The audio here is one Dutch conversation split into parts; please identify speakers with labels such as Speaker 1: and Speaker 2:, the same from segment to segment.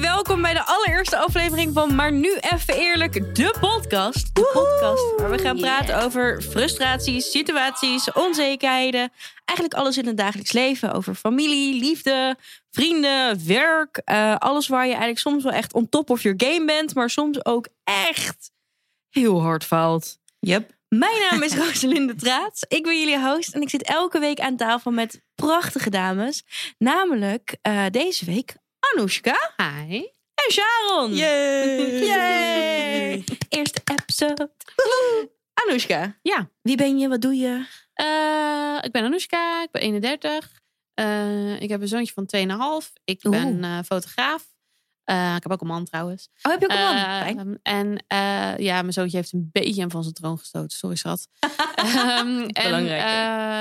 Speaker 1: welkom bij de allereerste aflevering van Maar Nu Even Eerlijk, de podcast. De podcast waar we gaan praten over frustraties, situaties, onzekerheden. Eigenlijk alles in het dagelijks leven. Over familie, liefde, vrienden, werk. eh, alles waar je eigenlijk soms wel echt on top of your game bent. Maar soms ook echt heel hard faalt.
Speaker 2: Yep.
Speaker 1: Mijn naam is Rosalinde Traats. Ik ben jullie host en ik zit elke week aan tafel met prachtige dames. Namelijk eh, deze week Anoushka
Speaker 2: Hi.
Speaker 1: en
Speaker 2: Mm.
Speaker 1: Sharon.
Speaker 2: Yay.
Speaker 1: Yay. Eerste episode. Anoushka.
Speaker 2: Ja.
Speaker 1: Wie ben je? Wat doe je?
Speaker 2: Eh, ik ben Anoushka, ik ben 31. Eh, ik heb een zoontje van 2,5. Ik
Speaker 1: Oeh.
Speaker 2: ben eh, fotograaf. Eh, ik heb ook een man trouwens.
Speaker 1: Oh, heb je ook een man?
Speaker 2: Eh,
Speaker 1: Fijn.
Speaker 2: en eh, ja, mijn zoontje heeft een beetje hem van zijn troon gestoten. Sorry, schat. Ehm, en,
Speaker 1: Belangrijk,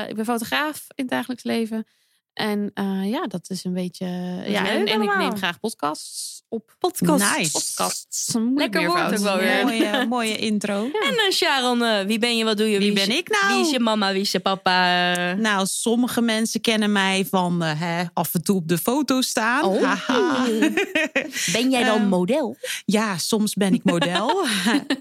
Speaker 2: eh, ik ben fotograaf in het dagelijks leven. En eh, ja, dat is een beetje. ja,
Speaker 1: leuk
Speaker 2: en, en ik
Speaker 1: allemaal.
Speaker 2: neem graag podcasts op.
Speaker 1: Podcast.
Speaker 3: nice.
Speaker 2: Podcasts. Moet ik
Speaker 1: Lekker
Speaker 2: meer
Speaker 1: woord
Speaker 2: fout.
Speaker 1: ook wel weer.
Speaker 3: Mooie, mooie intro.
Speaker 1: En eh, Sharon, eh, wie ben je? Wat doe je?
Speaker 3: Wie
Speaker 1: is
Speaker 3: ben
Speaker 1: je-
Speaker 3: ik nou?
Speaker 1: Wie is je mama? Wie is je papa?
Speaker 3: Nou, sommige mensen kennen mij van eh, hè, af en toe op de foto staan.
Speaker 1: Oh.
Speaker 3: Haha.
Speaker 1: Ben jij dan
Speaker 3: Ehm,
Speaker 1: model?
Speaker 3: ja, soms ben ik model.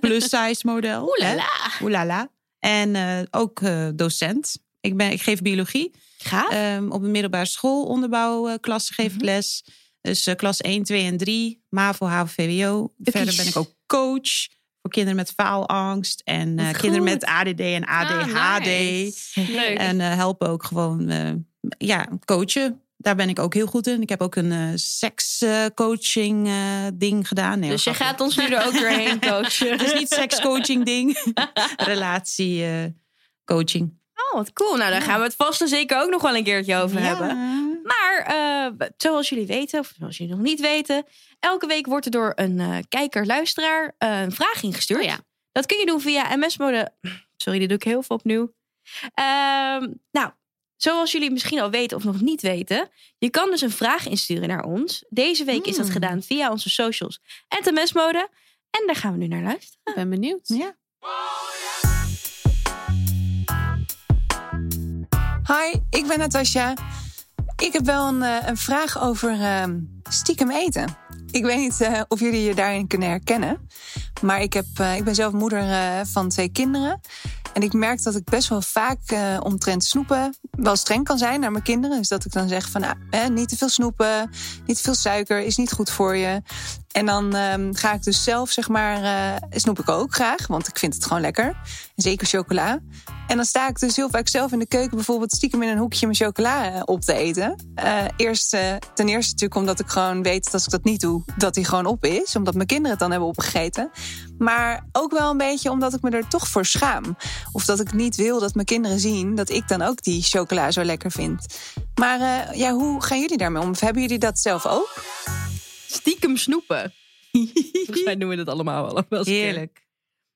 Speaker 3: Plus size model. Oelala. Oelala. En eh, ook eh, docent. Ik, ben, ik geef biologie.
Speaker 1: Gaaf.
Speaker 3: Ehm, op een middelbare school onderbouwklasse geef
Speaker 1: Mhm.
Speaker 3: ik les. Dus eh, klas 1, 2 en 3. MAVO, HAVO, VWO. Verder ben ik ook coach voor kinderen met faalangst. En eh,
Speaker 1: Wat
Speaker 3: kinderen
Speaker 1: goed.
Speaker 3: met ADD en ADHD.
Speaker 2: Ah, nice. Leuk.
Speaker 1: Dus
Speaker 3: En eh, helpen ook gewoon eh, ja, coachen. Daar ben ik ook heel goed in. Ik heb ook een eh sekscoaching ding gedaan. Nee,
Speaker 1: dus je
Speaker 3: hoor, grapje.
Speaker 1: gaat ons nu er ook doorheen coachen.
Speaker 3: Het is niet sekscoaching ding. Relatie eh, coaching.
Speaker 1: Oh, wat cool. Nou, daar gaan we het vast en zeker ook nog wel een keertje over hebben. Maar eh, zoals jullie weten, of zoals jullie nog niet weten, elke week wordt er door een eh, kijker, luisteraar eh, een vraag ingestuurd.
Speaker 2: Oh ja.
Speaker 1: Dat kun je doen via MS-mode. Sorry, dit doe ik heel veel opnieuw. Ehm, nou, zoals jullie misschien al weten of nog niet weten, je kan dus een vraag insturen naar ons. Deze week is dat
Speaker 3: Hmm.
Speaker 1: gedaan via onze socials en MS-mode. En daar gaan we nu naar luisteren.
Speaker 2: Ik ben benieuwd.
Speaker 3: Ja.
Speaker 4: Hi, ik ben Natasja. Ik heb wel een, eh, een vraag over ehm, stiekem eten. Ik weet niet eh, of jullie je daarin kunnen herkennen. Maar ik, heb, eh, ik ben zelf moeder eh, van twee kinderen. En ik merk dat ik best wel vaak eh, omtrent snoepen wel streng kan zijn naar mijn kinderen. Dus dat ik dan zeg van ah, eh, niet te veel snoepen, niet te veel suiker, is niet goed voor je. En dan ehm, ga ik dus zelf, zeg maar, eh, snoep ik ook graag. Want ik vind het gewoon lekker. En zeker chocola. En dan sta ik dus heel vaak zelf in de keuken bijvoorbeeld stiekem in een hoekje mijn chocola eh, op te eten. Eh, eerst, eh, ten eerste natuurlijk omdat ik gewoon weet dat als ik dat niet doe, dat die gewoon op is. Omdat mijn kinderen het dan hebben opgegeten. Maar ook wel een beetje omdat ik me er toch voor schaam. Of dat ik niet wil dat mijn kinderen zien dat ik dan ook die chocola zo lekker vind. Maar eh, ja, hoe gaan jullie daarmee om? Of hebben jullie dat zelf ook?
Speaker 1: Stiekem snoepen. Volgens mij doen we dat allemaal wel. wel eens een keer.
Speaker 3: Heerlijk.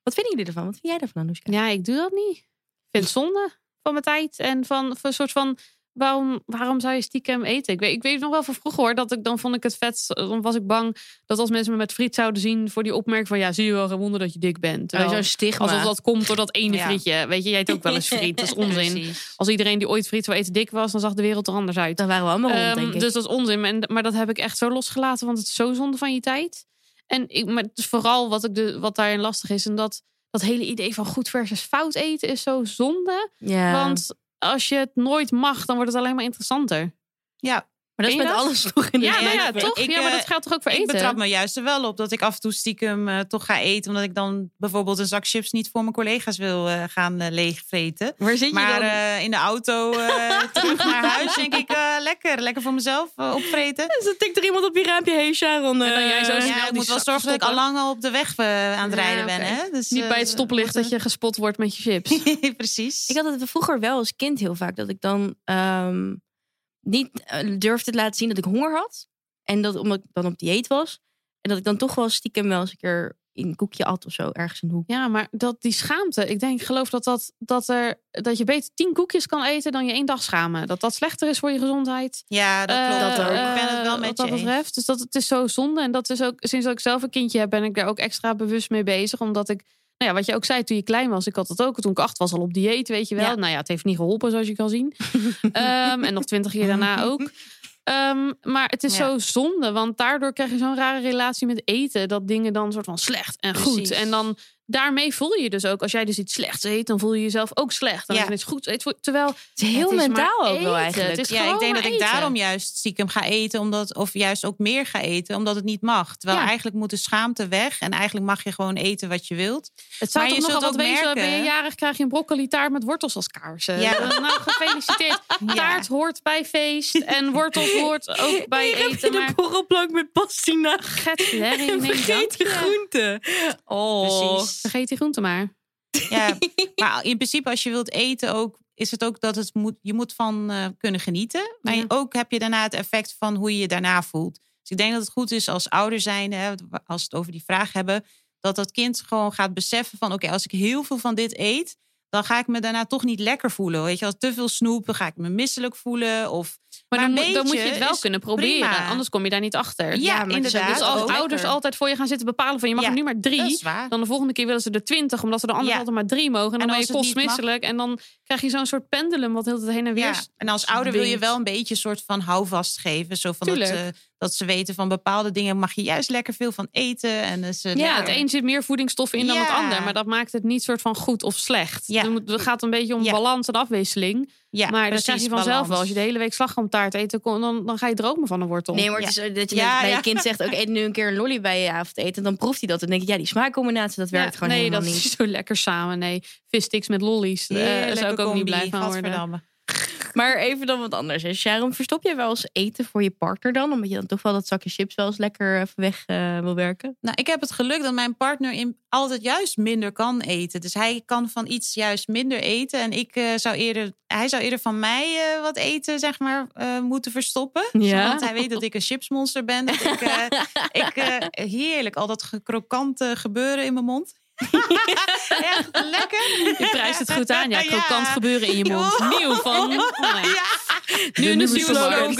Speaker 1: Wat vinden jullie ervan? Wat vind jij ervan, Anoushka?
Speaker 2: Ja, ik doe dat niet. Ik vind het zonde van mijn tijd. En van, van een soort van, waarom, waarom zou je stiekem eten? Ik weet, ik weet nog wel van vroeger hoor, dat ik dan vond ik het vet. Dan was ik bang dat als mensen me met friet zouden zien voor die opmerking van, ja, zie je wel, geen wonder dat je dik bent. Terwijl
Speaker 1: Zo'n stigma.
Speaker 2: Oh. Alsof dat komt door dat ene
Speaker 3: Ja.
Speaker 2: frietje. Weet je, jij eet ook wel eens friet. Dat is onzin. Als iedereen die ooit friet zou eten dik was, dan zag de wereld er anders uit.
Speaker 1: Dan waren we allemaal rond,
Speaker 2: Ehm,
Speaker 1: denk ik.
Speaker 2: Dus dat is onzin. En, maar dat heb ik echt zo losgelaten, want het is zo zonde van je tijd. En ik, maar het is vooral wat, ik de, wat daarin lastig is. En dat, dat hele idee van goed versus fout eten is zo zonde.
Speaker 1: ja.
Speaker 2: Want als je het nooit mag, dan wordt het alleen maar interessanter.
Speaker 3: Ja,
Speaker 1: maar dat is
Speaker 2: ken
Speaker 1: met
Speaker 2: je dat?
Speaker 1: alles toch in de
Speaker 2: Ja, nou
Speaker 1: leven.
Speaker 2: ja, toch?
Speaker 3: Ik,
Speaker 2: ja, maar
Speaker 3: eh,
Speaker 2: dat geldt toch ook voor
Speaker 3: ik
Speaker 2: eten?
Speaker 3: betrap me juist er wel op dat ik af en toe stiekem eh, toch ga eten. Omdat ik dan bijvoorbeeld een zak chips niet voor mijn collega's wil eh, gaan eh, leegvreten.
Speaker 1: Waar zit je
Speaker 3: Maar
Speaker 1: dan?
Speaker 3: eh, in de auto eh, terug naar huis denk ik eh, lekker. Lekker voor mezelf eh, opvreten.
Speaker 1: Dus dan tikt er iemand op je raampje. Hey Sharon.
Speaker 2: En dan jij zo
Speaker 1: eh,
Speaker 2: snel
Speaker 3: ja, ik
Speaker 2: die
Speaker 3: moet wel
Speaker 2: zak
Speaker 3: zorgen dat ik al
Speaker 2: stoppen.
Speaker 3: lang al op de weg eh, aan het
Speaker 2: Ja,
Speaker 3: rijden
Speaker 2: oké.
Speaker 3: ben. Hè? Dus,
Speaker 2: Niet bij het
Speaker 3: eh,
Speaker 2: stoplicht dat
Speaker 3: wordt
Speaker 2: je gespot wordt met je chips.
Speaker 3: een- Precies.
Speaker 1: Ik had het vroeger wel als kind heel vaak. Dat ik dan ehm, niet eh, durfde te laten zien dat ik honger had. En dat omdat ik dan op dieet was. En dat ik dan toch wel stiekem wel eens een keer een koekje at of zo. Ergens in de hoek.
Speaker 2: Ja, maar dat, die schaamte. Ik denk, geloof dat, dat, dat, er, dat je beter tien koekjes kan eten dan je één dag schamen. Dat dat slechter is voor je gezondheid.
Speaker 3: Ja, dat klopt.
Speaker 2: Eh,
Speaker 3: ik ben het wel
Speaker 2: eh,
Speaker 3: met
Speaker 2: wat
Speaker 3: je
Speaker 2: dat
Speaker 3: eens.
Speaker 2: betreft. Dus dat, het is zo zonde. En dat is ook, sinds dat ik zelf een kindje heb, ben ik daar ook extra bewust mee bezig. Omdat ik, nou ja, wat je ook zei toen je klein was. Ik had dat ook toen ik acht was al op dieet, weet je wel.
Speaker 1: Ja.
Speaker 2: Nou ja, het heeft niet geholpen zoals je kan zien. Ehm, en nog twintig jaar daarna ook. Ehm, maar het is
Speaker 4: Ja.
Speaker 2: zo zonde, want daardoor krijg je zo'n rare relatie met eten. Dat dingen dan soort van slecht en goed.
Speaker 1: Precies.
Speaker 2: En dan daarmee voel je je dus ook, als jij dus iets slechts eet, dan voel je jezelf ook slecht. En
Speaker 3: Ja.
Speaker 2: als je iets goed eet, voel- terwijl
Speaker 1: Het is heel
Speaker 2: het is
Speaker 1: mentaal
Speaker 2: maar
Speaker 1: ook wel
Speaker 2: eten.
Speaker 1: eigenlijk.
Speaker 2: Het is
Speaker 3: Ja,
Speaker 2: gewoon
Speaker 3: ik denk
Speaker 2: maar
Speaker 3: dat ik
Speaker 2: eten.
Speaker 3: daarom juist stiekem ga eten, omdat, of juist ook meer ga eten, omdat het niet mag. Terwijl
Speaker 2: Ja.
Speaker 3: eigenlijk moet de schaamte weg en eigenlijk mag je gewoon eten wat je wilt.
Speaker 2: Het zou
Speaker 3: Maar
Speaker 2: toch
Speaker 3: je
Speaker 2: nogal
Speaker 3: zult
Speaker 2: wat
Speaker 3: ook
Speaker 2: wezen,
Speaker 3: merken-
Speaker 2: ben je jarig, krijg je een broccoli taart met wortels als kaarsen.
Speaker 3: Ja.
Speaker 2: Eh, Nou, gefeliciteerd. Taart hoort bij feest en wortels hoort ook bij
Speaker 1: Hier heb je
Speaker 2: eten.
Speaker 1: de
Speaker 2: Maar
Speaker 1: borrelplank met pastinaak.
Speaker 2: get Larry,
Speaker 1: En
Speaker 2: nee,
Speaker 1: vergeet je
Speaker 2: dank je.
Speaker 1: groenten. Oh.
Speaker 3: Precies.
Speaker 2: Vergeet die groente maar.
Speaker 3: Ja, maar in principe als je wilt eten ook, is het ook dat het moet, je moet van eh, kunnen genieten. Maar
Speaker 2: Ja.
Speaker 3: ook heb je daarna het effect van hoe je je daarna voelt. Dus ik denk dat het goed is als ouder zijn, hè, als we het over die vraag hebben, dat dat kind gewoon gaat beseffen van oké, als ik heel veel van dit eet, dan ga ik me daarna toch niet lekker voelen. Weet je, als te veel snoep, dan ga ik me misselijk voelen. Of,
Speaker 2: Maar, dan,
Speaker 3: een
Speaker 2: moet- dan moet je
Speaker 3: beetje
Speaker 2: het wel
Speaker 3: is
Speaker 2: kunnen proberen.
Speaker 3: prima.
Speaker 2: Anders kom je daar niet achter.
Speaker 3: Ja,
Speaker 1: maar het is ook
Speaker 3: inderdaad.
Speaker 2: dus
Speaker 1: dat
Speaker 2: als
Speaker 1: ook
Speaker 2: ouders
Speaker 1: lekker.
Speaker 2: altijd voor je gaan zitten bepalen van je mag
Speaker 3: Ja,
Speaker 2: er nu maar
Speaker 3: dat is
Speaker 2: drie.
Speaker 3: waar.
Speaker 2: Dan de volgende keer willen ze er twintig, omdat ze de anderen
Speaker 3: Ja.
Speaker 2: altijd maar drie mogen. En dan
Speaker 3: En
Speaker 2: ben je
Speaker 3: als het niet mag-
Speaker 2: kostmisselijk. En dan krijg je zo'n soort pendulum wat heel het heen en weer.
Speaker 3: Ja,
Speaker 2: is.
Speaker 3: en als ouder wil je
Speaker 2: dwingt.
Speaker 3: wel een beetje een soort van houvast geven. Zo van dat,
Speaker 2: Tuurlijk.
Speaker 3: ze, dat ze weten van bepaalde dingen mag je juist lekker veel van eten. En dus, eh,
Speaker 2: Ja,
Speaker 3: lekker-
Speaker 2: het een zit meer voedingsstoffen in dan het
Speaker 3: Ja.
Speaker 2: ander. Maar dat maakt het niet soort van goed of slecht. Dus
Speaker 3: Ja.
Speaker 2: Het moet- Het gaat een beetje om
Speaker 3: Ja.
Speaker 2: balans en afwisseling.
Speaker 3: ja,
Speaker 2: maar dat
Speaker 3: precies,
Speaker 2: krijg je vanzelf
Speaker 3: balans.
Speaker 2: wel. Als je de hele week slagroomtaart eet, dan, dan, dan ga je dromen van een wortel.
Speaker 1: Nee, maar het is eh, dat je
Speaker 3: Ja,
Speaker 1: bij je
Speaker 3: ja.
Speaker 1: kind zegt... ook eet nu een keer een lolly bij je avondeten. Dan proeft hij dat. Dan denk ik, ja, die smaakcombinatie, dat werkt
Speaker 2: Ja,
Speaker 1: gewoon
Speaker 2: nee,
Speaker 1: helemaal
Speaker 2: dat
Speaker 1: niet.
Speaker 2: is zo lekker samen. Nee, vissticks met lollies. eh, Daar
Speaker 3: Heerlijke
Speaker 2: zou ik ook
Speaker 3: combi,
Speaker 2: niet blij van worden.
Speaker 3: gadverdamme.
Speaker 1: Maar even dan wat anders. hè. Sharon, verstop jij wel eens eten voor je partner dan? Omdat je dan toch wel dat zakje chips wel eens lekker even weg eh, wil werken?
Speaker 3: Nou, ik heb het geluk dat mijn partner in, altijd juist minder kan eten. Dus hij kan van iets juist minder eten. En ik, eh, zou eerder, hij zou eerder van mij eh, wat eten, zeg maar, eh, moeten verstoppen.
Speaker 1: Ja.
Speaker 3: Want hij weet dat ik een chipsmonster ben. Dat ik, eh, ik, eh, heerlijk, al dat ge- krokante gebeuren in mijn mond. Echt lekker.
Speaker 2: Je prijst het goed aan. Ja, krokant gebeuren in je mond.
Speaker 3: Ja.
Speaker 2: Nieuw van... Nee.
Speaker 3: Ja,
Speaker 2: Nu in de
Speaker 1: nieuwe
Speaker 2: supermarkt.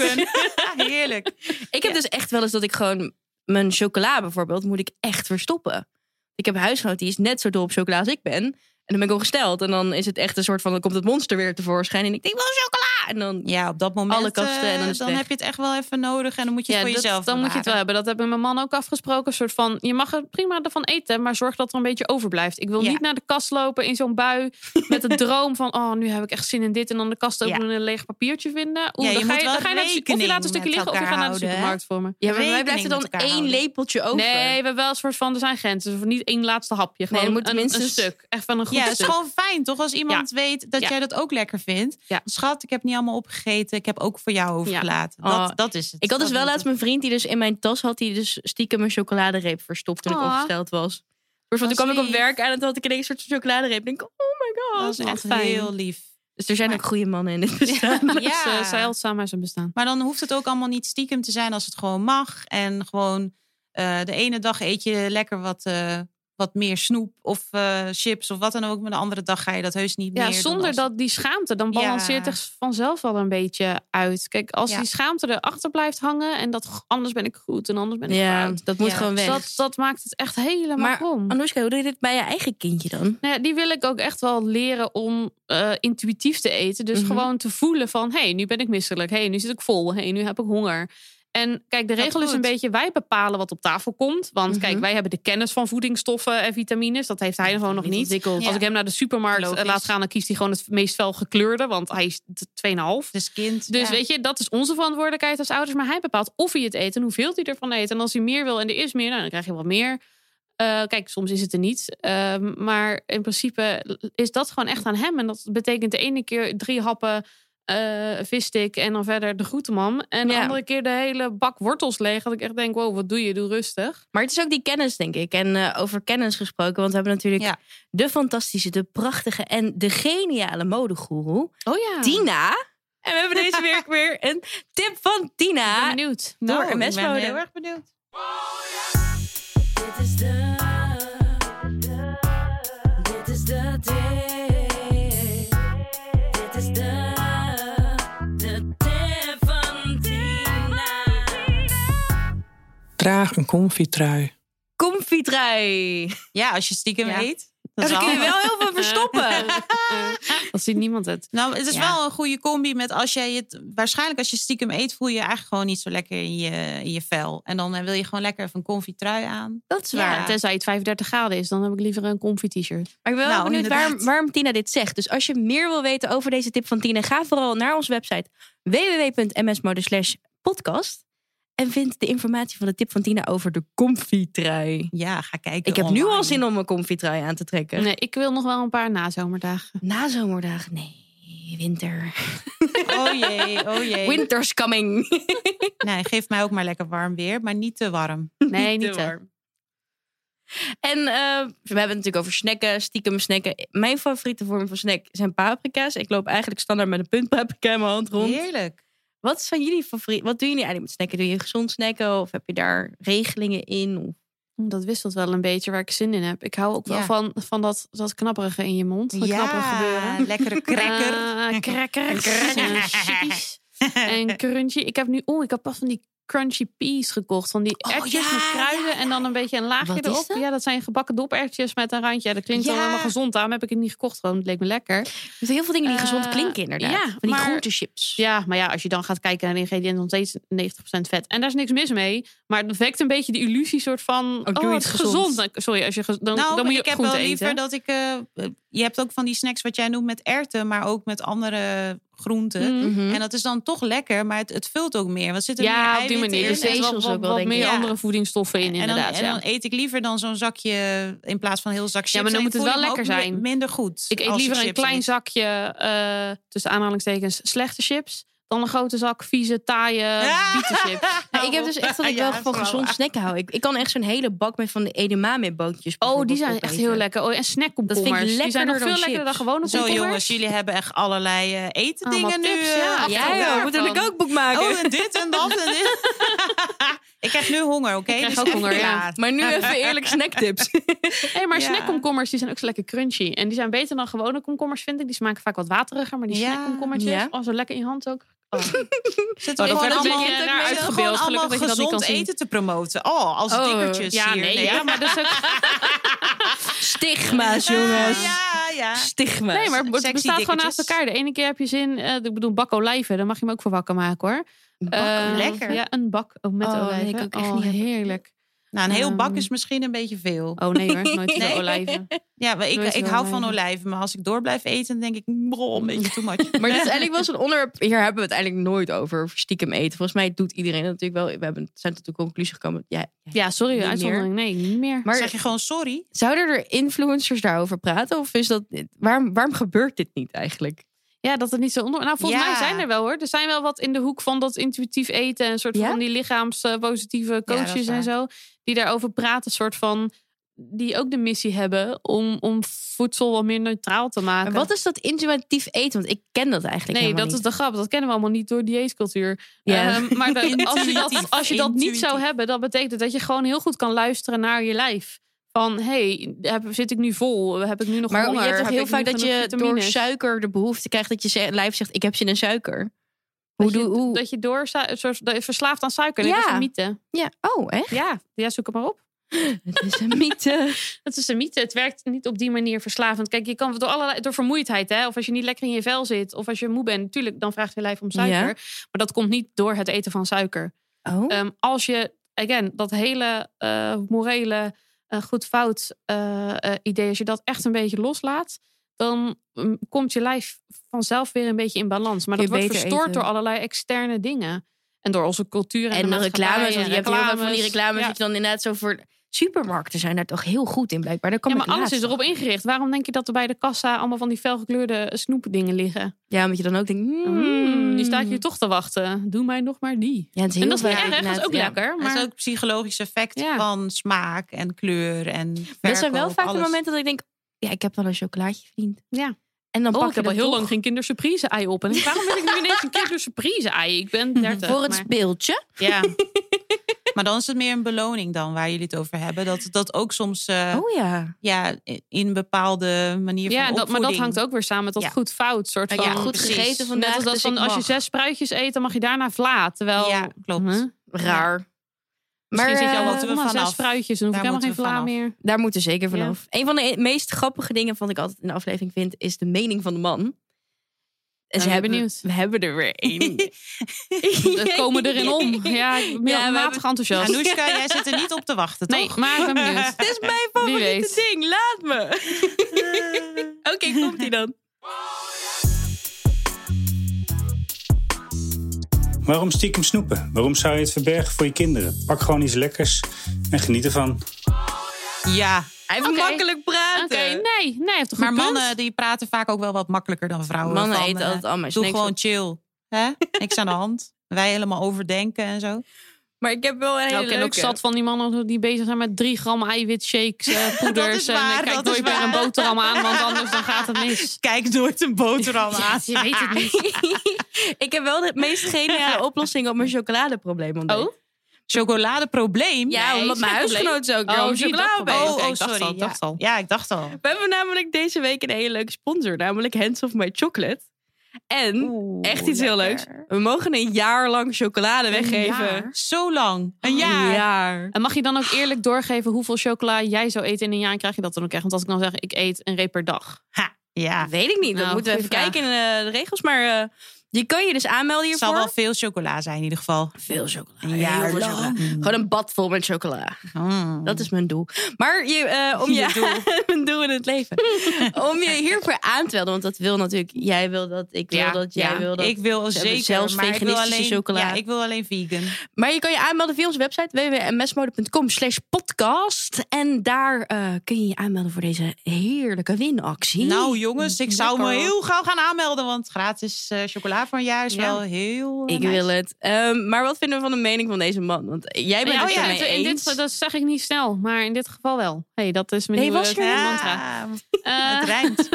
Speaker 1: slogan.
Speaker 3: heerlijk.
Speaker 1: Ik heb dus echt wel eens dat ik gewoon mijn chocola bijvoorbeeld moet ik echt verstoppen. Ik heb een huisgenoot die is net zo dol op chocola als ik ben. En dan ben ik ongesteld. En dan is het echt een soort van, dan komt het monster weer tevoorschijn. En ik denk, wel chocola! En dan,
Speaker 3: Ja, op dat moment
Speaker 1: Alle kasten en dan
Speaker 3: eh,
Speaker 1: is het weg.
Speaker 3: heb je het echt wel even nodig. En dan moet je het voor
Speaker 2: dat-
Speaker 3: jezelf
Speaker 2: dan moet je het wel hebben.
Speaker 3: bewaren.
Speaker 2: Dat hebben mijn man ook afgesproken. Een soort van, je mag er prima ervan eten, maar zorg dat er een beetje overblijft. Ik wil
Speaker 3: Ja.
Speaker 2: niet naar de kast lopen in zo'n bui met de droom van, oh, nu heb ik echt zin in dit. En dan de kast openen en een leeg papiertje vinden. Oeh,
Speaker 3: Ja, je
Speaker 2: dan ga
Speaker 3: moet
Speaker 2: je,
Speaker 3: wel
Speaker 2: dan ga je naar de, of je
Speaker 3: rekening
Speaker 2: laat een stukje
Speaker 3: met
Speaker 2: liggen of je
Speaker 3: elkaar
Speaker 2: gaat naar de
Speaker 3: houden, hè?
Speaker 2: supermarkt voor me.
Speaker 1: ja, maar bij mij blijft er
Speaker 3: Rekening
Speaker 1: dan één
Speaker 3: met elkaar houden.
Speaker 1: lepeltje over.
Speaker 2: Nee, we hebben wel een soort van, er zijn grenzen. Dus niet één laatste hapje. Gewoon
Speaker 1: er moet
Speaker 2: een,
Speaker 1: minstens-
Speaker 2: een stuk. Echt van een goed
Speaker 3: Ja, het is
Speaker 2: stuk.
Speaker 3: gewoon fijn toch? Als iemand weet dat
Speaker 2: Ja.
Speaker 3: jij dat ook lekker vindt.
Speaker 2: Ja.
Speaker 3: Schat, ik heb niet allemaal opgegeten. Ik heb ook voor jou overgelaten.
Speaker 1: Oh,
Speaker 3: Dat, dat is het.
Speaker 1: Ik had dus
Speaker 3: Dat
Speaker 1: wel
Speaker 3: moet
Speaker 1: laatst mijn vriend die dus in mijn tas had, die dus stiekem een chocoladereep verstopt toen ik
Speaker 2: Ah.
Speaker 1: ongesteld was. Dus toen
Speaker 3: Dat
Speaker 1: kwam
Speaker 3: is
Speaker 1: ik op
Speaker 3: lief.
Speaker 1: werk aan en toen had ik ineens een soort chocoladereep. Denk ik, oh my god.
Speaker 3: het. Dat is
Speaker 2: echt
Speaker 3: echt
Speaker 2: fijn.
Speaker 3: heel lief.
Speaker 1: Dus er zijn
Speaker 3: Maar-
Speaker 1: ook goede mannen in dit bestaan.
Speaker 2: Dus,
Speaker 3: Ja.
Speaker 2: eh, zeldzaam maar zijn bestaan.
Speaker 3: Maar dan hoeft het ook allemaal niet stiekem te zijn als het gewoon mag. En gewoon eh, de ene dag eet je lekker wat, eh, wat meer snoep of eh, chips of wat dan ook. Maar de andere dag ga je dat heus niet
Speaker 2: Ja,
Speaker 3: meer. dan
Speaker 2: zonder
Speaker 3: als-
Speaker 2: dat die schaamte, dan balanceert
Speaker 3: Ja.
Speaker 2: het vanzelf al een beetje uit. Kijk, als
Speaker 3: Ja.
Speaker 2: die schaamte erachter blijft hangen en dat "Goh, anders ben ik goed en anders ben ik
Speaker 1: Ja,
Speaker 2: fout.
Speaker 1: dat moet
Speaker 3: Ja.
Speaker 1: gewoon
Speaker 2: Dus
Speaker 1: weg.
Speaker 2: dat, dat maakt het echt helemaal
Speaker 1: Maar
Speaker 2: om.
Speaker 1: Anoushka, hoe doe je dit bij je eigen kindje dan?
Speaker 2: Nou ja, die wil ik ook echt wel leren om eh, intuïtief te eten. Dus
Speaker 1: Mhm.
Speaker 2: gewoon te voelen van, hé, hey, nu ben ik misselijk. Hé, hey, nu zit ik vol. Hé, hey, nu heb ik honger. En kijk, de
Speaker 3: Dat
Speaker 2: regel is een
Speaker 3: goed.
Speaker 2: beetje, wij bepalen wat op tafel komt. Want
Speaker 1: Mhm.
Speaker 2: kijk, wij hebben de kennis van voedingsstoffen en vitamines. Dat heeft hij gewoon nog niet.
Speaker 1: ontwikkeld.
Speaker 3: Ja.
Speaker 2: Als ik hem naar de supermarkt eh,
Speaker 3: Logisch.
Speaker 2: laat gaan, dan kiest hij gewoon het meest gekleurde, want hij is t- 2,5.
Speaker 3: Dus kind.
Speaker 2: Dus
Speaker 3: ja.
Speaker 2: weet je, dat is onze verantwoordelijkheid als ouders. Maar hij bepaalt of hij het eet en hoeveel hij ervan eet. En als hij meer wil en er is meer, nou, dan krijg je wat meer. Eh, kijk, soms is het er niet. Ehm, maar in principe is dat gewoon echt aan hem. En dat betekent de ene keer drie happen eh visstick en dan verder de groentemam. En de
Speaker 1: Ja.
Speaker 2: andere keer de hele bak wortels leeg. Dat ik echt denk, wow, wat doe je? Doe rustig.
Speaker 1: Maar het is ook die kennis, denk ik. En eh, over kennis gesproken, want we hebben natuurlijk
Speaker 3: Ja.
Speaker 1: de fantastische, de prachtige en de geniale modegoeroe,
Speaker 2: Oh ja,
Speaker 1: Tina. En we hebben deze week weer een tip van
Speaker 2: Ah, Ik ben
Speaker 1: Tina.
Speaker 2: benieuwd.
Speaker 1: door
Speaker 3: Nou, ik ben
Speaker 1: MS-mode.
Speaker 3: heel erg benieuwd.
Speaker 5: Dit is de, de- dit is de tip. Dit is de, de tip van Tina.
Speaker 6: Draag een comfy trui.
Speaker 1: Comfietrui.
Speaker 3: Ja, als je stiekem
Speaker 2: Ja.
Speaker 3: eet. Dat is
Speaker 1: daar kun je
Speaker 3: handig.
Speaker 1: wel heel veel verstoppen.
Speaker 2: Dan Eh, ziet niemand het.
Speaker 3: Nou, het is
Speaker 2: Ja.
Speaker 3: wel een goede combi met als jij het... Waarschijnlijk als je stiekem eet, voel je je eigenlijk gewoon niet zo lekker in je, in je vel. En dan eh, wil je gewoon lekker even een confietrui aan.
Speaker 1: Dat is
Speaker 3: waar.
Speaker 2: Ja, tenzij het 35 graden is, dan heb ik liever een comfy t-shirt.
Speaker 1: Maar ik ben wel
Speaker 3: Nou,
Speaker 1: benieuwd waarom,
Speaker 3: inderdaad.
Speaker 1: waarom Tina dit zegt. Dus als je meer wil weten over deze tip van Tina, ga vooral naar onze website www.msmode podcast. En vind de informatie van de tip van Tina over de comfietrui.
Speaker 3: Ja, ga kijken
Speaker 1: Ik heb nu
Speaker 3: online.
Speaker 1: al zin om een comfietrui aan te trekken.
Speaker 2: Nee, ik wil nog wel een paar nazomerdagen.
Speaker 1: Na zomerdagen, nee, winter.
Speaker 3: Oh jee, oh jee.
Speaker 1: Winter's coming.
Speaker 3: Nee, geef mij ook maar lekker warm weer, maar niet te warm.
Speaker 2: Nee, niet hè.
Speaker 1: En eh, we hebben het natuurlijk over snacken, stiekem snacken. Mijn favoriete vorm van snack zijn paprika's. Ik loop eigenlijk standaard met een punt paprika in mijn hand rond.
Speaker 3: Heerlijk.
Speaker 1: Wat zijn jullie favoriet? Wat doen jullie eigenlijk met snacken? Doe je gezond snacken of heb je daar regelingen in? Of-
Speaker 2: Dat wisselt wel een beetje waar ik zin in heb. Ik hou ook wel
Speaker 3: Ja.
Speaker 2: van, van dat, dat knapperige in je mond. Dat knapperige gebeuren.
Speaker 3: lekkere cracker.
Speaker 2: Eh, crackers.
Speaker 3: Crackers.
Speaker 2: En chickies. En crunchy. Ik heb nu, oh, ik heb pas van die crunchy peas gekocht. Van die
Speaker 3: Oh,
Speaker 2: erwtjes
Speaker 3: ja,
Speaker 2: met kruiden en dan een beetje een laagje
Speaker 1: Wat is
Speaker 2: erop.
Speaker 1: dat?
Speaker 2: Ja, dat zijn gebakken dopertjes met een randje. Ja, dat klinkt
Speaker 3: Ja.
Speaker 2: wel helemaal gezond. Daarom heb ik het niet gekocht. Gewoon, het leek me lekker.
Speaker 1: Er zijn heel veel dingen die
Speaker 2: Eh,
Speaker 1: gezond klinken inderdaad.
Speaker 2: ja,
Speaker 1: Van die
Speaker 2: maar-
Speaker 1: groentechips.
Speaker 2: Ja, maar ja, als je dan gaat kijken naar de ingrediënten, nog steeds 90% vet. En daar is niks mis mee. Maar het wekt een beetje die illusie soort van,
Speaker 1: doe
Speaker 2: oh, het
Speaker 1: iets
Speaker 2: is
Speaker 1: gezond.
Speaker 2: gezond. Dan- Sorry, als je, gez- dan,
Speaker 3: Nou,
Speaker 2: dan moet je
Speaker 3: ik heb wel
Speaker 2: groente
Speaker 3: liever
Speaker 2: eten.
Speaker 3: dat ik... eh, je hebt ook van die snacks wat jij noemt met erwten, maar ook met andere groenten.
Speaker 2: Mm.
Speaker 1: Mhm.
Speaker 3: En dat is dan toch lekker, maar het, het vult ook meer. Want er zitten meer
Speaker 2: Ja, op die
Speaker 3: eiwitten
Speaker 2: manier.
Speaker 3: in
Speaker 2: Er
Speaker 1: dus
Speaker 3: en-
Speaker 1: het-
Speaker 2: zitten
Speaker 1: vezels
Speaker 2: wat,
Speaker 1: ook wel,
Speaker 2: wat
Speaker 1: denk ik.
Speaker 2: meer
Speaker 3: Ja.
Speaker 2: andere voedingsstoffen in,
Speaker 3: en dan,
Speaker 2: inderdaad.
Speaker 3: en
Speaker 2: ja.
Speaker 3: dan eet ik liever dan zo'n zakje in plaats van een heel zak chips.
Speaker 2: maar dan
Speaker 3: En
Speaker 2: moet
Speaker 3: ik
Speaker 2: het
Speaker 3: voel
Speaker 2: wel
Speaker 3: me ook
Speaker 2: lekker
Speaker 3: mi-
Speaker 2: zijn.
Speaker 3: Minder goed.
Speaker 2: Ik eet
Speaker 3: als
Speaker 2: liever
Speaker 3: ik
Speaker 2: een
Speaker 3: chips
Speaker 2: klein
Speaker 3: eet.
Speaker 2: zakje, eh, tussen aanhalingstekens, slechte chips. Dan een grote zak vieze, taaie
Speaker 3: Ja.
Speaker 2: bietenchips.
Speaker 1: Nou, ik heb dus echt dat ik
Speaker 3: Ja,
Speaker 1: wel
Speaker 3: dat is
Speaker 1: van
Speaker 3: wel
Speaker 1: gezond
Speaker 3: waar.
Speaker 1: snacken hou. Ik, ik kan echt zo'n hele bak met van de edamame bootjes.
Speaker 2: Oh, die
Speaker 1: bijvoorbeeld
Speaker 2: zijn echt
Speaker 1: opeten.
Speaker 2: heel lekker. Oh, en snackkomkommers.
Speaker 1: Dat vind ik
Speaker 2: die zijn
Speaker 1: lekkerder
Speaker 2: nog veel
Speaker 1: dan
Speaker 2: lekkerder dan
Speaker 1: chips.
Speaker 2: gewone
Speaker 3: Zo
Speaker 2: komkommers.
Speaker 3: jongens, jullie hebben echt allerlei eh, etendingen
Speaker 2: Allemaal
Speaker 3: nu.
Speaker 2: tips,
Speaker 3: eh,
Speaker 2: ja.
Speaker 3: achter
Speaker 2: Ja,
Speaker 1: Ja,
Speaker 3: elkaar.
Speaker 1: joh, we moeten een
Speaker 2: van.
Speaker 1: kookboek maken.
Speaker 3: Oh, en dit en dat en dit. ik krijg nu honger, oké?
Speaker 2: krijg
Speaker 3: Dus
Speaker 2: ook
Speaker 3: even
Speaker 2: honger, ja.
Speaker 3: laat.
Speaker 1: maar nu even eerlijk snacktips.
Speaker 2: Hey, maar
Speaker 3: Ja.
Speaker 2: snackkomkommers die zijn ook zo lekker crunchy. En die zijn beter dan gewone komkommers, vind ik. Die smaken vaak wat wateriger. Maar die
Speaker 3: Ja.
Speaker 2: snackkomkommertjes,
Speaker 1: Ja.
Speaker 2: oh, zo lekker in je hand ook.
Speaker 3: Zit
Speaker 2: Oh,
Speaker 3: er
Speaker 2: dat
Speaker 3: gewoon
Speaker 2: werd een
Speaker 3: allemaal-
Speaker 2: beetje
Speaker 1: het ook
Speaker 2: naar
Speaker 1: mee.
Speaker 3: Gewoon
Speaker 2: uitgebeeld.
Speaker 3: allemaal
Speaker 2: Gelukkig dat je dat niet kan
Speaker 3: gezond
Speaker 2: zien.
Speaker 3: eten te promoten. Oh, als
Speaker 1: Oh,
Speaker 3: dikkertjes
Speaker 2: Ja,
Speaker 3: hier.
Speaker 2: nee, ja, maar dat is ook...
Speaker 1: Stigma's, jongens.
Speaker 3: Ja, ja.
Speaker 1: Stigma's.
Speaker 2: Nee, maar het
Speaker 3: Sexy
Speaker 2: bestaat gewoon naast
Speaker 3: dikketjes.
Speaker 2: elkaar. De ene keer heb je zin, eh, ik bedoel bak olijven, daar mag je hem ook voor wakker maken hoor. Eh,
Speaker 3: lekker.
Speaker 2: Ja, een bak oh, met
Speaker 1: Oh, dat
Speaker 2: olijven.
Speaker 1: ik ook echt
Speaker 2: oh,
Speaker 1: niet heb.
Speaker 2: heerlijk.
Speaker 3: Nou, een heel bak
Speaker 2: Ehm.
Speaker 3: is misschien een beetje veel.
Speaker 2: Oh nee hoor, nooit
Speaker 1: Nee.
Speaker 2: veel olijven.
Speaker 3: Ja, maar ik,
Speaker 2: Nooit
Speaker 3: ik
Speaker 2: wel
Speaker 3: hou van
Speaker 2: olijven.
Speaker 3: olijven. Maar als ik door blijf eten, dan denk ik... Bro, een beetje too much.
Speaker 1: Maar dit is eigenlijk wel zo'n onderwerp. Hier hebben we het eigenlijk nooit over. over Stiekem eten. Volgens mij doet iedereen dat natuurlijk wel. We hebben, zijn tot de conclusie gekomen. Ja,
Speaker 2: Ja, sorry,
Speaker 1: Niet
Speaker 2: uitzondering. Nee, niet meer.
Speaker 1: maar
Speaker 3: zeg je gewoon sorry?
Speaker 1: zouden er influencers daarover praten? Of is dat. Waarom, waarom gebeurt dit niet eigenlijk?
Speaker 2: Ja, dat het niet zo onder. Nou, volgens
Speaker 3: Ja.
Speaker 2: mij zijn er wel hoor. Er zijn wel wat in de hoek van dat intuïtief eten en soort
Speaker 1: Ja?
Speaker 2: van die lichaamspositieve
Speaker 3: dat is
Speaker 2: coaches en
Speaker 3: waar.
Speaker 2: zo. Die daarover praten, soort van. Die ook de missie hebben om, om voedsel wat meer neutraal te maken.
Speaker 1: Maar wat is dat intuïtief eten? Want ik ken dat eigenlijk.
Speaker 2: Nee, dat is de grap. Dat kennen we allemaal niet door dieetcultuur.
Speaker 1: Ja.
Speaker 2: Ehm, maar dat- als je, dat,
Speaker 3: Intuïtief,
Speaker 2: als je dat niet zou
Speaker 3: intuïtief.
Speaker 2: hebben, dan betekent dat je gewoon heel goed kan luisteren naar je lijf. Van, hey, heb, zit ik nu vol? Heb ik nu nog
Speaker 1: Maar
Speaker 2: honger?
Speaker 1: je hebt toch
Speaker 2: Heb
Speaker 1: heel
Speaker 2: ik nu
Speaker 1: vaak dat
Speaker 2: genoeg
Speaker 1: je door
Speaker 2: vitamines?
Speaker 1: suiker de behoefte krijgt dat je ze- lijf zegt: Ik heb zin in suiker. Hoe
Speaker 2: Dat je,
Speaker 1: doe hoe?
Speaker 2: dat je door su- soort- dat je verslaafd aan suiker. Nee,
Speaker 1: Ja.
Speaker 2: Dat is een mythe.
Speaker 1: Ja, oh, echt?
Speaker 2: Ja, ja, zoek het maar op.
Speaker 1: Het is een mythe.
Speaker 2: Dat is een mythe. Het werkt niet op die manier verslavend. Kijk, je kan door, allerlei, door vermoeidheid, hè, of als je niet lekker in je vel zit, of als je moe bent, natuurlijk, dan vraagt je lijf om suiker.
Speaker 1: Ja.
Speaker 2: Maar dat komt niet door het eten van suiker.
Speaker 1: Oh.
Speaker 2: Ehm, als je, again, dat hele eh, morele eh, goed-fout eh, eh, idee, als je dat echt een beetje loslaat, dan mm, komt je lijf vanzelf weer een beetje in balans. Maar
Speaker 1: Kun
Speaker 2: dat
Speaker 1: je
Speaker 2: wordt
Speaker 1: beter
Speaker 2: verstoord
Speaker 1: eten.
Speaker 2: door allerlei externe dingen. En door onze cultuur en,
Speaker 1: En
Speaker 2: de
Speaker 1: de reclames, want je hebt heel veel van die reclames
Speaker 2: Ja.
Speaker 1: dat je dan inderdaad zo voor... Supermarkten zijn daar toch heel goed in blijkbaar. Daar kan
Speaker 2: Ja,
Speaker 1: ik
Speaker 2: maar alles
Speaker 1: laatst
Speaker 2: is erop
Speaker 1: nog.
Speaker 2: ingericht. Waarom denk je dat er bij de kassa allemaal van die felgekleurde snoepdingen liggen?
Speaker 1: Ja, omdat je dan ook denkt...
Speaker 2: Mm,
Speaker 1: Mm,
Speaker 2: die staat je toch te wachten. Doe mij nog maar die.
Speaker 1: Ja, het is heel
Speaker 2: En dat is niet
Speaker 1: vaak
Speaker 2: erg, dat is
Speaker 1: inderdaad,
Speaker 2: ook
Speaker 1: ja.
Speaker 2: lekker.
Speaker 3: Maar...
Speaker 2: Maar
Speaker 3: Dat is ook psychologisch effect
Speaker 2: Ja.
Speaker 3: van smaak en kleur en
Speaker 1: Dat zijn wel
Speaker 3: verkoop,
Speaker 1: vaak de
Speaker 3: alles.
Speaker 1: momenten dat ik denk... Ja, ik heb wel een chocolaatje verdiend.
Speaker 2: Ja.
Speaker 1: En dan
Speaker 2: Oh,
Speaker 1: pak
Speaker 2: ik heb
Speaker 1: je dat
Speaker 2: al heel
Speaker 1: toch
Speaker 2: lang geen kindersurprise ei op. En ik- waarom wil ik nu ineens een kindersurprise ei? Ik ben 30.
Speaker 1: Mhm. Voor het
Speaker 2: maar-
Speaker 1: speeltje.
Speaker 3: Ja. maar dan is het meer een beloning dan waar jullie het over hebben. Dat, dat ook soms eh,
Speaker 1: Oh ja.
Speaker 3: ja, in een bepaalde manier
Speaker 2: Ja,
Speaker 3: van
Speaker 2: dat, maar dat
Speaker 3: opvoeding.
Speaker 2: hangt ook weer samen met dat
Speaker 3: Ja.
Speaker 2: goed-fout soort van.
Speaker 1: ja, goed
Speaker 3: precies.
Speaker 1: gegeten vandaag.
Speaker 2: Net als dat
Speaker 1: dus
Speaker 2: van
Speaker 1: ik
Speaker 2: als je
Speaker 1: mag.
Speaker 2: zes spruitjes eet, dan mag je daarna vla. Terwijl.
Speaker 3: Ja, klopt.
Speaker 2: Huh?
Speaker 1: Raar. Maar
Speaker 3: Misschien zit je al
Speaker 1: eh,
Speaker 3: wat te-
Speaker 2: Allemaal
Speaker 3: vanaf.
Speaker 2: zes fruitjes, dan hoef ik
Speaker 3: Daar
Speaker 2: helemaal geen
Speaker 3: moeten we
Speaker 2: vla meer.
Speaker 1: daar moeten we zeker
Speaker 2: Ja.
Speaker 1: vanaf. Een van de e- meest grappige dingen wat ik altijd in de aflevering vind, is de mening van de man. En
Speaker 2: ben benieuwd.
Speaker 1: We hebben er weer één.
Speaker 2: We Eh, komen erin om. Ja, ik ben
Speaker 1: Ja, we
Speaker 2: matig
Speaker 1: hebben-
Speaker 2: enthousiast.
Speaker 3: Anoushka, jij zit er niet op te wachten,
Speaker 2: nee,
Speaker 3: toch?
Speaker 2: maar ik ben benieuwd.
Speaker 1: Dit is mijn
Speaker 2: Wie
Speaker 1: favoriete
Speaker 2: weet.
Speaker 1: ding, laat me. Oké, komt ie dan.
Speaker 6: Waarom stiekem snoepen? Waarom zou je het verbergen voor je kinderen? Pak gewoon iets lekkers en geniet ervan.
Speaker 3: Ja,
Speaker 1: Hij heeft
Speaker 2: Oké.
Speaker 1: makkelijk praten.
Speaker 2: Oké, nou, nee, nee, hij heeft toch
Speaker 3: maar mannen die praten vaak ook wel wat makkelijker dan vrouwen.
Speaker 1: Mannen
Speaker 3: Van,
Speaker 1: eten
Speaker 3: eh,
Speaker 1: altijd allemaal
Speaker 3: Doe
Speaker 1: snacks
Speaker 3: gewoon chill. Hè? Niks aan de hand. Wij helemaal overdenken en zo.
Speaker 1: Maar ik heb wel een hele
Speaker 2: Nou, ik ben ook
Speaker 1: leuke.
Speaker 2: zat van die mannen die bezig zijn met 3 gram eiwitshakes, eh, poeders. en
Speaker 3: waar,
Speaker 2: ik kijk
Speaker 3: dat
Speaker 2: nooit
Speaker 3: is
Speaker 2: meer een
Speaker 3: waar.
Speaker 2: boterham aan, want anders dan gaat het mis.
Speaker 3: Kijk nooit een boterham aan.
Speaker 2: Je weet het niet.
Speaker 1: ik heb wel de meest geniale oplossing op mijn chocoladeprobleem ontdekt.
Speaker 2: Oh?
Speaker 3: Chocoladeprobleem?
Speaker 1: Ja,
Speaker 2: Nee,
Speaker 1: omdat
Speaker 2: geen
Speaker 1: mijn
Speaker 2: probleem.
Speaker 1: huisgenoot is ook
Speaker 2: Oh,
Speaker 1: weer om
Speaker 2: die
Speaker 1: chocolade
Speaker 2: dat
Speaker 1: bij.
Speaker 2: probleem.
Speaker 3: Oh,
Speaker 2: Oké,
Speaker 3: oh,
Speaker 2: ik dacht al,
Speaker 3: sorry. ja.
Speaker 2: dacht al.
Speaker 3: Ja, ik dacht al.
Speaker 1: We hebben namelijk deze week een hele leuke sponsor, namelijk Hands of My Chocolate. En echt iets heel leuks. We mogen een jaar lang chocolade weggeven.
Speaker 2: jaar?
Speaker 3: Zo lang. Een
Speaker 1: Een
Speaker 3: jaar.
Speaker 1: jaar.
Speaker 2: En mag je dan ook eerlijk doorgeven hoeveel chocola jij zou eten in een jaar? En krijg je dat dan ook echt? Want als ik dan zeg, ik eet een reep per dag.
Speaker 3: Ha, ja.
Speaker 1: Weet ik niet.
Speaker 2: Nou,
Speaker 1: dat moeten we even
Speaker 2: goeie vraag.
Speaker 1: kijken in eh, de regels. Maar eh, je kan je dus aanmelden
Speaker 3: Het
Speaker 1: hiervoor.
Speaker 3: zal wel veel chocola zijn in ieder geval.
Speaker 1: veel chocola.
Speaker 3: Een
Speaker 1: Heel
Speaker 3: jaar
Speaker 1: veel
Speaker 3: lang.
Speaker 1: chocola. Gewoon een bad vol met chocola.
Speaker 3: Mm.
Speaker 1: Dat is mijn doel. Maar je, eh, om je,
Speaker 3: Je doel.
Speaker 1: mijn doel in het leven. om je hiervoor aan te melden. Want dat wil natuurlijk. Jij wil dat. Ik wil
Speaker 2: Ja,
Speaker 1: dat. Jij
Speaker 2: ja.
Speaker 1: wil dat.
Speaker 3: ik wil
Speaker 1: hebben
Speaker 3: zeker,
Speaker 1: zelfs
Speaker 3: maar ik wil
Speaker 1: veganistische
Speaker 3: alleen,
Speaker 1: chocola.
Speaker 3: Ja, ik wil alleen vegan.
Speaker 1: Maar je kan je aanmelden via onze website www.msmode.com slash podcast. En daar eh, kun je je aanmelden voor deze heerlijke winactie.
Speaker 3: Nou jongens, ik zou me
Speaker 1: lekker.
Speaker 3: heel gauw gaan aanmelden, want gratis eh, chocola voor een jaar is
Speaker 2: Ja.
Speaker 3: wel heel eh,
Speaker 1: ik
Speaker 3: nice.
Speaker 1: wil het. Ehm, maar wat vinden we van de mening van deze man? Want jij bent
Speaker 2: Ja,
Speaker 1: het
Speaker 2: oh ja,
Speaker 1: ermee
Speaker 2: in
Speaker 1: eens.
Speaker 2: dit, dat zeg ik niet snel, maar in dit geval wel. hey, dat is mijn
Speaker 1: Nee,
Speaker 2: nieuwe
Speaker 1: was er
Speaker 2: eh,
Speaker 1: niet.
Speaker 2: mantra. Eh,
Speaker 3: het rijmt.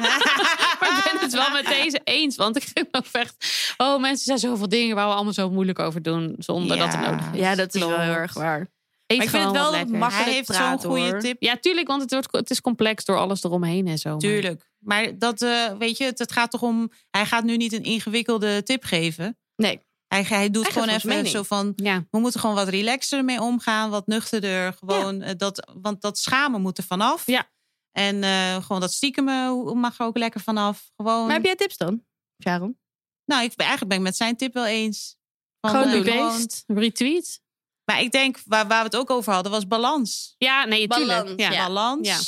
Speaker 2: Maar ik ben het wel met deze eens. Want ik vind ook echt... Oh, mensen zijn zoveel dingen waar we allemaal zo moeilijk over doen. Zonder dat het
Speaker 3: Ja.
Speaker 2: nodig is.
Speaker 1: Ja, dat is wel
Speaker 2: Klopt.
Speaker 1: heel erg waar.
Speaker 2: Eet
Speaker 1: Maar ik vind
Speaker 2: gewoon
Speaker 1: het
Speaker 2: wat
Speaker 1: wel
Speaker 2: lekker.
Speaker 1: makkelijk
Speaker 3: Hij heeft zo'n
Speaker 1: praten,
Speaker 3: goede
Speaker 1: hoor.
Speaker 3: tip.
Speaker 2: Ja, tuurlijk, want het, wordt, het is complex door alles eromheen en zo. maar-
Speaker 3: Tuurlijk. Maar dat, eh, weet je, het, het gaat toch om... Hij gaat nu niet een ingewikkelde tip geven.
Speaker 1: Nee.
Speaker 3: Hij, hij doet
Speaker 1: Hij
Speaker 3: gewoon
Speaker 1: geeft ons
Speaker 3: even
Speaker 1: mening.
Speaker 3: zo van...
Speaker 2: Ja,
Speaker 3: We moeten gewoon wat relaxer mee omgaan. Wat nuchterder. Gewoon eh, dat, want dat schamen moet er vanaf.
Speaker 2: Ja.
Speaker 3: En eh, gewoon dat stiekem eh, mag er ook lekker vanaf. Gewoon...
Speaker 1: Maar heb jij tips dan, Sharon?
Speaker 3: Nou, ik, ben- eigenlijk ben ik met zijn tip wel eens. Van,
Speaker 1: Gewoon
Speaker 3: eh,
Speaker 1: doen.
Speaker 2: beest, retweet.
Speaker 3: Maar ik denk, waar, waar we het ook over hadden, was balans.
Speaker 2: Ja, nee,
Speaker 1: Balans,
Speaker 2: tuurlijk. Ja.
Speaker 1: ja.
Speaker 3: Balans.
Speaker 2: Ja.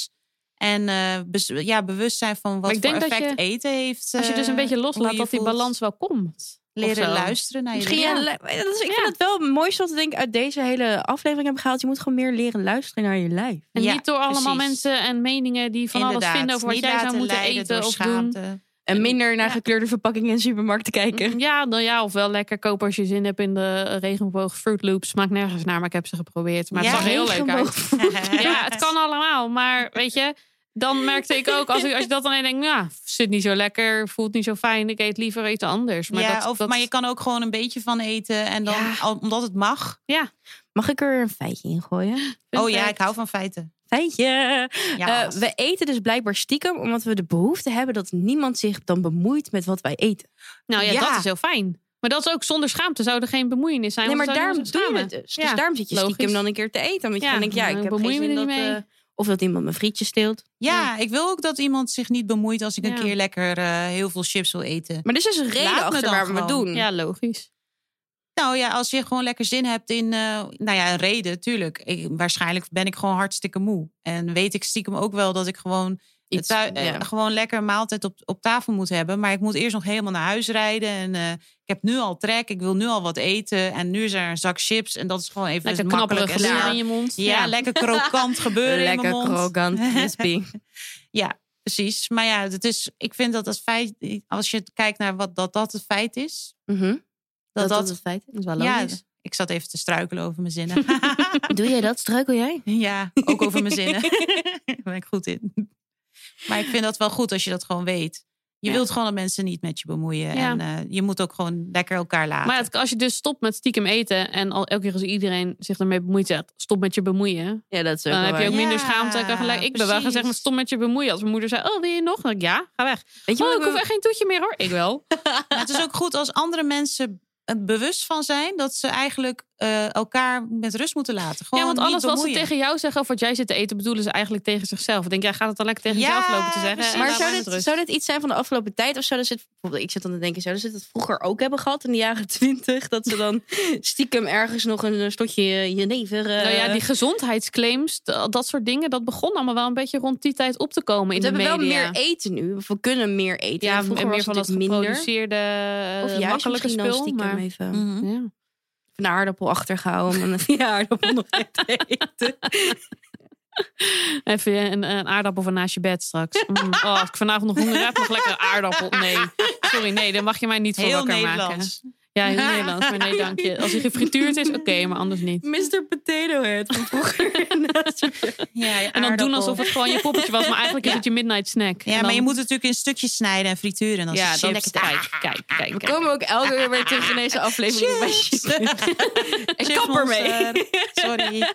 Speaker 3: En eh bes- ja, bewustzijn van wat
Speaker 2: ik
Speaker 3: voor
Speaker 2: denk dat
Speaker 3: effect
Speaker 2: je-
Speaker 3: eten heeft.
Speaker 2: Als je dus een
Speaker 3: eh,
Speaker 2: beetje
Speaker 3: hoe je
Speaker 2: loslaat dat die
Speaker 3: voelt.
Speaker 2: balans wel komt.
Speaker 3: Leren
Speaker 2: Of zo.
Speaker 3: luisteren naar je
Speaker 1: Misschien,
Speaker 3: lichaam.
Speaker 1: ja, lu- dat is, ik vind het wel het mooiste wat we denk ik uit deze hele aflevering hebben gehaald. Je moet gewoon meer leren luisteren naar je lijf.
Speaker 2: En
Speaker 3: Ja,
Speaker 2: niet door allemaal
Speaker 3: precies.
Speaker 2: mensen en meningen die van
Speaker 3: Inderdaad.
Speaker 2: alles vinden over wat
Speaker 3: Niet
Speaker 2: jij zou
Speaker 3: laten
Speaker 2: moeten
Speaker 3: leiden
Speaker 2: eten
Speaker 3: door
Speaker 2: of doen.
Speaker 3: schaamte.
Speaker 1: En minder naar gekleurde verpakkingen in supermarkten kijken.
Speaker 2: Ja, nou ja, of wel lekker kopen als je zin hebt in de regenboog Fruit Loops. Maakt nergens naar, maar ik heb ze geprobeerd. Maar het
Speaker 3: Ja,
Speaker 2: zag er heel leuk uit. Ja, het kan allemaal. Maar weet je, dan merkte ik ook, als, ik, als je dat dan in denkt, nou, zit niet zo lekker, voelt niet zo fijn, ik eet liever iets anders. Maar,
Speaker 3: ja,
Speaker 2: dat,
Speaker 3: of,
Speaker 2: dat-
Speaker 3: maar je kan ook gewoon een beetje van eten. En dan,
Speaker 1: Ja.
Speaker 3: al- omdat het mag.
Speaker 1: Mag ik er een feitje in gooien?
Speaker 3: Oh ja,
Speaker 2: fact.
Speaker 3: ik hou van feiten.
Speaker 1: Feitje.
Speaker 3: Ja,
Speaker 1: Eh, we eten dus blijkbaar stiekem omdat we de behoefte hebben dat niemand zich dan bemoeit met wat wij eten.
Speaker 2: nou ja,
Speaker 3: Ja.
Speaker 2: dat is heel fijn. Maar dat is ook zonder schaamte, zou er geen bemoeienis zijn.
Speaker 1: nee, maar
Speaker 2: want dan
Speaker 1: daarom
Speaker 2: zouden
Speaker 1: doe je
Speaker 2: mensen
Speaker 1: het dus.
Speaker 2: Ja,
Speaker 1: Dus daarom zit je stiekem
Speaker 2: logisch.
Speaker 1: dan een keer te eten. Omdat je
Speaker 2: Ja,
Speaker 1: gewoon denkt, ja, ik
Speaker 2: dan
Speaker 1: heb geen
Speaker 2: bemoei je me
Speaker 1: zin
Speaker 2: er
Speaker 1: dat...
Speaker 2: niet mee.
Speaker 1: eh, of dat iemand mijn frietje steelt.
Speaker 3: ja, ik wil ook dat iemand zich niet bemoeit als ik
Speaker 2: Ja.
Speaker 3: een keer lekker eh, heel veel chips wil eten.
Speaker 1: Maar dus is een reden
Speaker 3: Laat me
Speaker 1: achter
Speaker 3: dan
Speaker 1: waarom we het
Speaker 3: gewoon.
Speaker 1: doen.
Speaker 2: Ja, logisch.
Speaker 3: Nou ja, als je gewoon lekker zin hebt in, eh, nou ja, een reden, tuurlijk. Ik, waarschijnlijk ben ik gewoon hartstikke moe. En weet ik stiekem ook wel dat ik gewoon,
Speaker 1: Iets,
Speaker 3: thui- eh,
Speaker 1: ja.
Speaker 3: gewoon lekker een maaltijd op, op tafel moet hebben. Maar ik moet eerst nog helemaal naar huis rijden. En eh, ik heb nu al trek, ik wil nu al wat eten. En nu is er een zak chips. En dat is gewoon
Speaker 1: Dus
Speaker 3: even
Speaker 2: Lekker
Speaker 3: makkelijk
Speaker 2: knapperig
Speaker 3: en
Speaker 2: geluid
Speaker 3: snel.
Speaker 2: in je mond.
Speaker 3: Ja, lekker krokant gebeuren in
Speaker 1: Lekker
Speaker 3: mijn mond.
Speaker 1: krokant, crispy.
Speaker 3: Precies. Maar ja, het is, ik vind dat als feit, als je kijkt naar wat dat, dat het feit is.
Speaker 1: Mhm.
Speaker 3: Dat dat,
Speaker 1: het feit.
Speaker 2: Dat is wel
Speaker 3: ja,
Speaker 2: logisch.
Speaker 3: ik zat even te struikelen over mijn zinnen.
Speaker 1: Doe jij dat? Struikel jij?
Speaker 3: Ja, ook over mijn zinnen. Daar ben ik goed in. Maar ik vind dat wel goed als je dat gewoon weet. Je
Speaker 2: Ja.
Speaker 3: wilt gewoon dat mensen niet met je bemoeien.
Speaker 2: Ja.
Speaker 3: En eh, je moet ook gewoon lekker elkaar laten.
Speaker 2: Maar ja, het- als je dus stopt met stiekem eten en al, elke keer als iedereen zich ermee bemoeit zegt, stop met je bemoeien.
Speaker 1: Ja, dat is ook
Speaker 2: Dan
Speaker 1: wel
Speaker 2: heb je
Speaker 1: waar.
Speaker 2: ook
Speaker 3: waar.
Speaker 2: minder
Speaker 3: Ja,
Speaker 2: schaamte. Ik, kan gelijk, ik ben wel
Speaker 3: precies.
Speaker 2: gezegd, maar stop met je bemoeien. Als mijn moeder zei, oh wil je nog? Dan dacht ik, ja, ga weg.
Speaker 1: Weet je
Speaker 2: oh,
Speaker 1: wat
Speaker 2: ik hoef echt geen toetje meer hoor. Ik wel.
Speaker 3: Maar het is ook goed als andere mensen er bewust van zijn... dat ze eigenlijk eh, eh, elkaar met rust moeten laten. Gewoon
Speaker 2: ja, want alles
Speaker 3: niet
Speaker 2: wat ze
Speaker 3: bemoeien.
Speaker 2: tegen jou zeggen of wat jij zit te eten, bedoelen ze eigenlijk tegen zichzelf. Ik denk, jij gaat het dan lekker tegen
Speaker 3: Ja,
Speaker 2: jezelf lopen te zeggen.
Speaker 3: precies.
Speaker 2: en
Speaker 1: Maar
Speaker 2: laat mij
Speaker 1: zou
Speaker 2: met
Speaker 1: dit,
Speaker 2: rust.
Speaker 1: zou dit iets zijn van de afgelopen tijd? Of zouden ze het, bijvoorbeeld, ik zit dan te denken, zouden ze dat vroeger ook hebben gehad in de jaren twintig? Dat ze dan stiekem ergens nog een eh, slotje eh, jenever... eh,
Speaker 2: Nou ja, die gezondheidsclaims, d- dat soort dingen, dat begon allemaal wel een beetje rond die tijd op te komen in
Speaker 1: we
Speaker 2: de
Speaker 1: hebben
Speaker 2: media.
Speaker 1: wel meer eten nu. We kunnen meer eten.
Speaker 2: ja,
Speaker 1: vroeger
Speaker 2: en meer
Speaker 1: was
Speaker 2: van
Speaker 1: het
Speaker 2: dat
Speaker 1: natuurlijk minder.
Speaker 2: geproduceerde, eh,
Speaker 1: Of juist
Speaker 2: makkelijke
Speaker 1: misschien dan
Speaker 2: spul.
Speaker 1: stiekem
Speaker 2: Maar, Mm.
Speaker 1: even
Speaker 3: Mhm.
Speaker 2: ja.
Speaker 1: een aardappel achtergehouden. Om een ja, aardappel nog even te eten.
Speaker 2: Even een, een aardappel van naast je bed straks. Mm. Oh, als ik vanavond nog honger heb, nog lekker een aardappel. Nee, sorry, nee, dan mag je mij niet voor
Speaker 3: Heel
Speaker 2: wakker maken.
Speaker 3: Nederlands.
Speaker 2: Ja, heel Nederlands, maar nee, dank je. Als hij gefrituurd is, oké, maar anders niet.
Speaker 1: Mr. Potato Head van vroeger.
Speaker 3: Ja, je
Speaker 2: En dan doen
Speaker 3: aardappel.
Speaker 2: alsof het gewoon je poppetje was, maar eigenlijk is het je midnight snack. En
Speaker 3: Ja,
Speaker 2: dan-
Speaker 3: maar je moet het natuurlijk in stukjes snijden en frituren. En dan
Speaker 2: Ja,
Speaker 3: is het
Speaker 2: dat
Speaker 3: chips.
Speaker 2: kijk, kijk, kijk.
Speaker 1: We komen ook elke keer weer terug in deze aflevering. bij
Speaker 3: Chips.
Speaker 1: Chips.
Speaker 3: Chips
Speaker 1: kap ermee.
Speaker 3: monster. Sorry.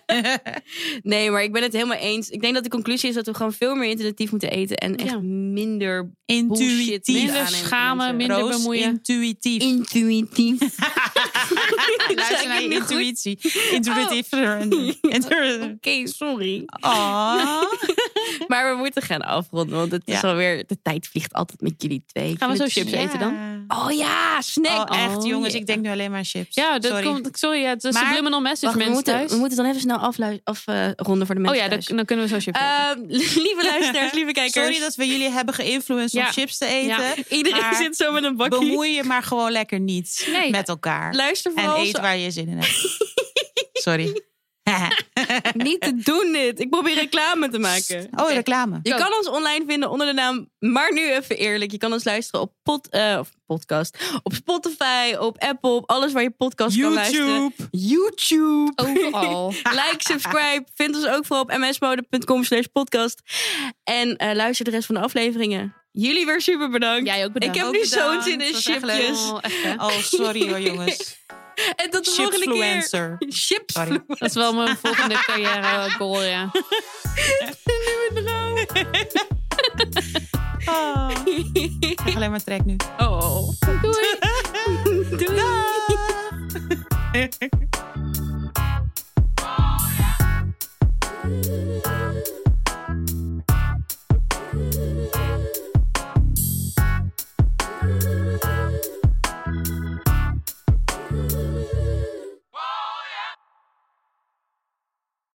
Speaker 1: Nee, maar ik ben het helemaal eens. Ik denk dat de conclusie is dat we gewoon veel meer intuïtief moeten eten. En echt
Speaker 2: Ja.
Speaker 1: minder bullshit
Speaker 3: Intuïtief.
Speaker 1: aannemen
Speaker 2: Minder
Speaker 1: van
Speaker 2: schamen,
Speaker 1: mensen.
Speaker 2: minder-
Speaker 3: Roos,
Speaker 2: bemoeien.
Speaker 3: intuïtief.
Speaker 1: Intuïtief. Zeg ik
Speaker 3: Luister naar je
Speaker 1: nu goed?
Speaker 3: intuïtie. Intuïtief.
Speaker 2: Oh.
Speaker 1: Oké, sorry.
Speaker 3: Oh.
Speaker 1: Maar we moeten gaan afronden, want het is
Speaker 3: Ja.
Speaker 1: alweer... De tijd vliegt altijd met jullie twee. Ik
Speaker 2: Gaan we
Speaker 1: vind
Speaker 2: zo
Speaker 1: het
Speaker 2: chips eten dan?
Speaker 1: Oh ja, snack.
Speaker 3: Oh, echt,
Speaker 2: Oh,
Speaker 3: jongens,
Speaker 1: jee.
Speaker 3: ik denk nu alleen maar aan chips.
Speaker 2: Ja, dat
Speaker 3: Sorry.
Speaker 2: komt. Sorry, ja, het is
Speaker 3: Maar-
Speaker 2: subliminal message
Speaker 1: Wacht, we,
Speaker 2: mensen
Speaker 1: moeten,
Speaker 2: thuis.
Speaker 1: we moeten dan even snel afronden af, eh, ronden voor de
Speaker 2: oh
Speaker 1: mensen
Speaker 2: ja, dan,
Speaker 1: thuis.
Speaker 2: dan kunnen we zo chips. eten.
Speaker 1: Ehm, lieve luisteraars, lieve kijkers.
Speaker 3: Sorry dat we jullie hebben geïnfluenced
Speaker 2: Ja.
Speaker 3: om chips te
Speaker 2: Ja.
Speaker 3: eten.
Speaker 1: Iedereen
Speaker 3: maar
Speaker 1: zit zo met een bakje.
Speaker 3: Bemoei je maar gewoon lekker niet
Speaker 2: Nee.
Speaker 3: met elkaar.
Speaker 1: Luister
Speaker 3: en
Speaker 1: vooral
Speaker 3: eet waar je zin in hebt. Sorry.
Speaker 1: niet te doen dit. Ik probeer reclame te maken.
Speaker 3: Oh, reclame.
Speaker 1: Je kan ons online vinden onder de naam Maar Nu Even Eerlijk. Je kan ons luisteren op pod, eh, of podcast, op Spotify, op Apple, op alles waar je podcast kan luisteren. Oh, YouTube.
Speaker 2: Overal.
Speaker 1: Like, subscribe. Vind ons ook vooral op msmode.com slash podcast. En eh, luister de rest van de afleveringen. Jullie weer super bedankt.
Speaker 2: Jij ook bedankt.
Speaker 1: Ik heb
Speaker 3: Ook
Speaker 1: nu zo'n
Speaker 3: bedankt.
Speaker 1: zin in
Speaker 3: Het was echt leuk.
Speaker 1: chipjes.
Speaker 2: Oh, echt, hè?
Speaker 3: Oh, sorry hoor, jongens.
Speaker 1: En tot de volgende keer.
Speaker 3: Chipsfluencer.
Speaker 1: Chips.
Speaker 3: Sorry.
Speaker 2: Dat is wel mijn volgende carrière goal, ja.
Speaker 3: Oh, ik krijg alleen maar trek nu.
Speaker 1: Oh. Doei. Doei.
Speaker 3: Dag.